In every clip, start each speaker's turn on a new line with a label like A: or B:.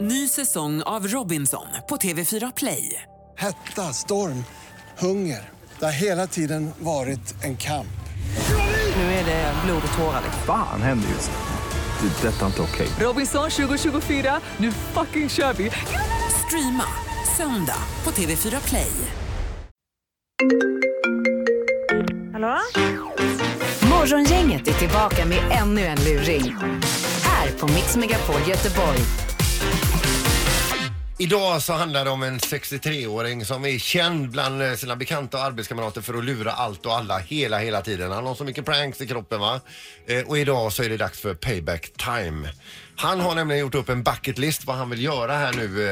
A: Ny säsong av Robinson på TV4 Play.
B: Hetta, storm, hunger. Det har hela tiden varit en kamp.
A: Nu är det blod och tårar.
C: liksom.
D: Fan händer just nu. Det. är Detta är inte okej.
A: Robinson 2024, nu fucking kör vi! Streama söndag på TV4 Play.
E: Hallå?
C: Morgongänget är tillbaka med ännu en luring. Här på Mix Megapol Göteborg.
F: Idag så handlar det om en 63-åring som är känd bland eh, sina bekanta och arbetskamrater för att lura allt och alla hela, hela tiden. Han har så mycket pranks i kroppen va. Eh, och idag så är det dags för payback time. Han har nämligen gjort upp en bucket list vad han vill göra här nu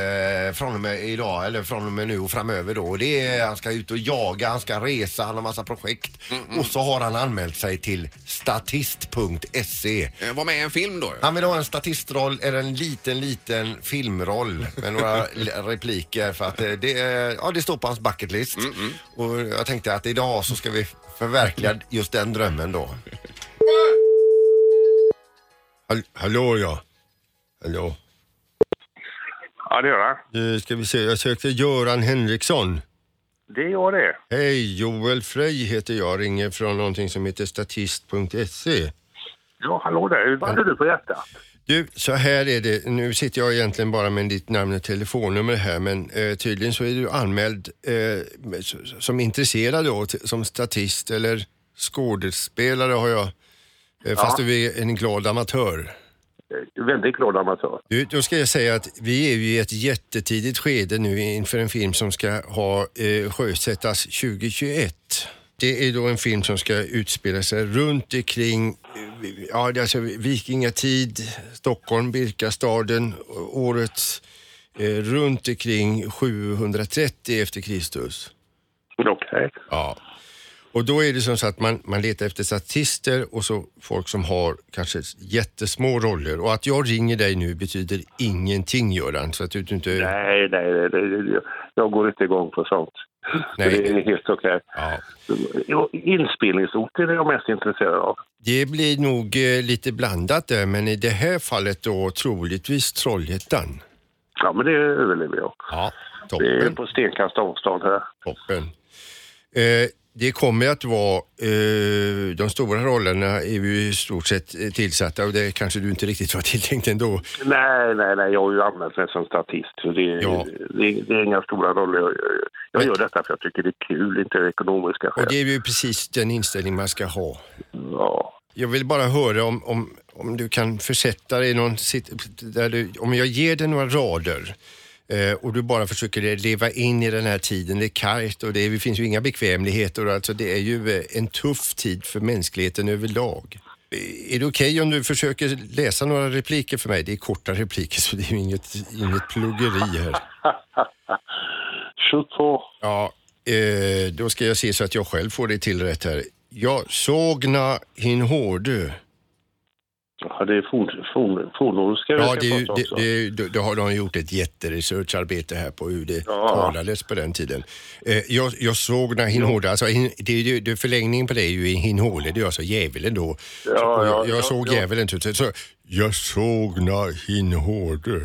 F: eh, från och med idag eller från och med nu och framöver då. Och det är, han ska ut och jaga, han ska resa, han har massa projekt. Och så har han anmält sig till statist.se.
G: Eh, Var med i en film då.
F: Han vill ha en statistroll eller en liten, liten filmroll med några l- repliker för att eh, det, eh, ja, det står på hans bucket list. Och jag tänkte att idag så ska vi förverkliga just den drömmen då. Hall- Hallå ja. Hallå.
H: Ja, det gör han.
F: Nu ska vi se, jag sökte Göran Henriksson.
H: Det är jag det.
F: Hej, Joel Frey heter jag, ringer från någonting som heter statist.se.
H: Ja, hallå där. Vad hade du på hjärtat?
F: Du, så här är det. Nu sitter jag egentligen bara med ditt namn och telefonnummer här men eh, tydligen så är du anmäld eh, med- s- som intresserad då, t- som statist eller skådespelare har jag. Eh, fast du är en glad amatör.
H: Eh, Väldigt glad amatör.
F: Du, då ska jag säga att vi är ju i ett jättetidigt skede nu inför en film som ska ha eh, sjösättas 2021. Det är då en film som ska utspela sig runt omkring eh, ja, det är alltså vikingatid, Stockholm, Birkastaden, året eh, runt omkring 730 efter Kristus.
H: Okej.
F: Ja. Och då är det som så att man, man letar efter statister och så folk som har kanske jättesmå roller. Och att jag ringer dig nu betyder ingenting Göran. Så att du inte...
H: Nej, nej, nej, nej, nej. Jag går inte igång på sånt.
F: Nej.
H: Det är helt okej.
F: Ja.
H: Jo, Inspelningsorter är jag mest intresserad av.
F: Det blir nog eh, lite blandat där, men i det här fallet då troligtvis Trollhättan.
H: Ja, men det överlever jag.
F: Ja,
H: Det är
F: toppen.
H: på stenkast avstånd här.
F: toppen. Eh, det kommer att vara, eh, de stora rollerna är ju i stort sett eh, tillsatta och det kanske du inte riktigt var tilltänkt ändå.
H: Nej, nej, nej. Jag har ju anmält mig som statist. Så det,
F: Ja.
H: det, det är inga stora roller. Jag, jag, jag gör detta för jag tycker det är kul, inte av ekonomiska skäl.
F: Och det är ju precis den inställning man ska ha.
H: Ja.
F: Jag vill bara höra om, om, om du kan försätta dig i någon sit- där du, om jag ger dig några rader eh, och du bara försöker leva in i den här tiden. Det är kargt och det, är, det finns ju inga bekvämligheter. och Alltså det är ju eh, en tuff tid för mänskligheten överlag. Eh, Är det okej om du försöker läsa några repliker för mig? Det är korta repliker så det är ju inget, inget pluggeri här.
H: Skjut på.
F: Ja, eh, då ska jag se så att jag själv får det till rätt här. Jag sågna hin hårdu.
H: Ja, det är forn- forn- fornnordiska
F: Ja,
H: vi
F: det, är
H: ska
F: ju-
H: prata
F: det,
H: också.
F: det, är ju- då- då har de gjort ett jätteresearcharbete här på hur det
H: Ja.
F: talades på den tiden. Eh, jag, jag såg när hin hårde, alltså hin, det, är ju- det, förlängningen på det är ju i hin hårde, det är alltså djävulen då. Så,
H: Ja,
F: och
H: ja,
F: jag, jag
H: ja,
F: såg
H: ja.
F: djävulen, typ, så, så, jag såg när hin hårde.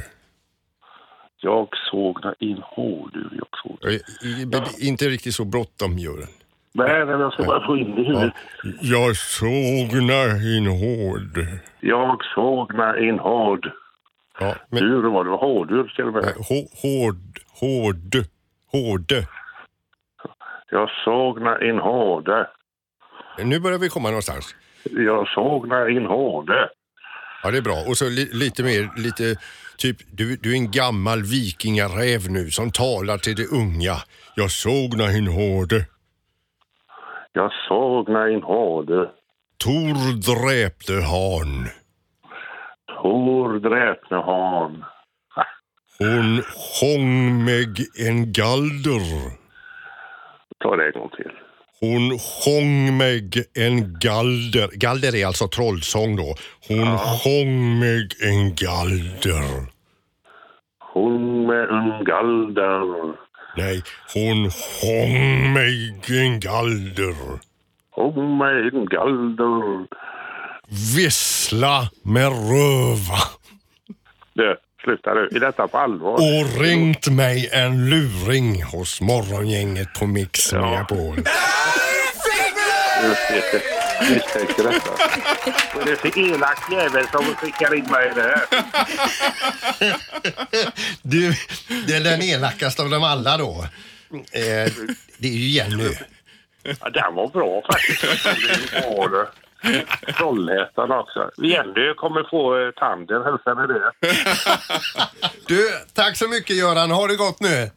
H: Jag såg när in hår, du. Jag såg.
F: Eh, i- Inte riktigt så bråttom Göran.
H: Nej, men jag ska bara få in det i huvudet.
F: Jag såg när hin hårde.
H: Jag såg när in hård.
F: Ja, men eh,
H: Hur var det? Det var Hårdur till och med.
F: hå- hård, hård, hårde.
H: Jag såg när in hårde.
F: Nu börjar vi komma någonstans.
H: Jag såg när in hårde.
F: Ja, det är bra. Och så li- lite mer, lite typ, du, du är en gammal vikingaräv nu som talar till de unga. Jag såg när hin hörde.
H: Jag såg när in hårde.
F: Tor dräpte han.
H: Tor dräpne han.
F: Hon sjöng meg en galder.
H: Ta det en gång till.
F: Hon sjöng meg en galder. Galder är alltså trollsång då. Hon sjöng meg en galder.
H: Hon med en galder.
F: Nej, hon sjöng mig en galder.
H: Hon med en galder.
F: Vissla med röva.
H: Det. Sluta nu. Är detta på allvar?
G: Och ringt mig en luring hos morgongänget på Mix Megapol.
H: Misstänker detta. Vad är det för elak jävel som skickar in mig i det här?
F: Du, det är den elakaste av dem alla då. Eh, det är ju Jenny.
H: Ja, den var bra faktiskt. Det var det. Trollhättan också. Jenny kommer få eh, tanden, hälsa med det.
F: Du, tack så mycket Göran. Har det gott nu.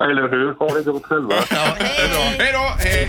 H: Eller hur? Har det gott själva.
F: Ja, det är bra. Hej då! Hej,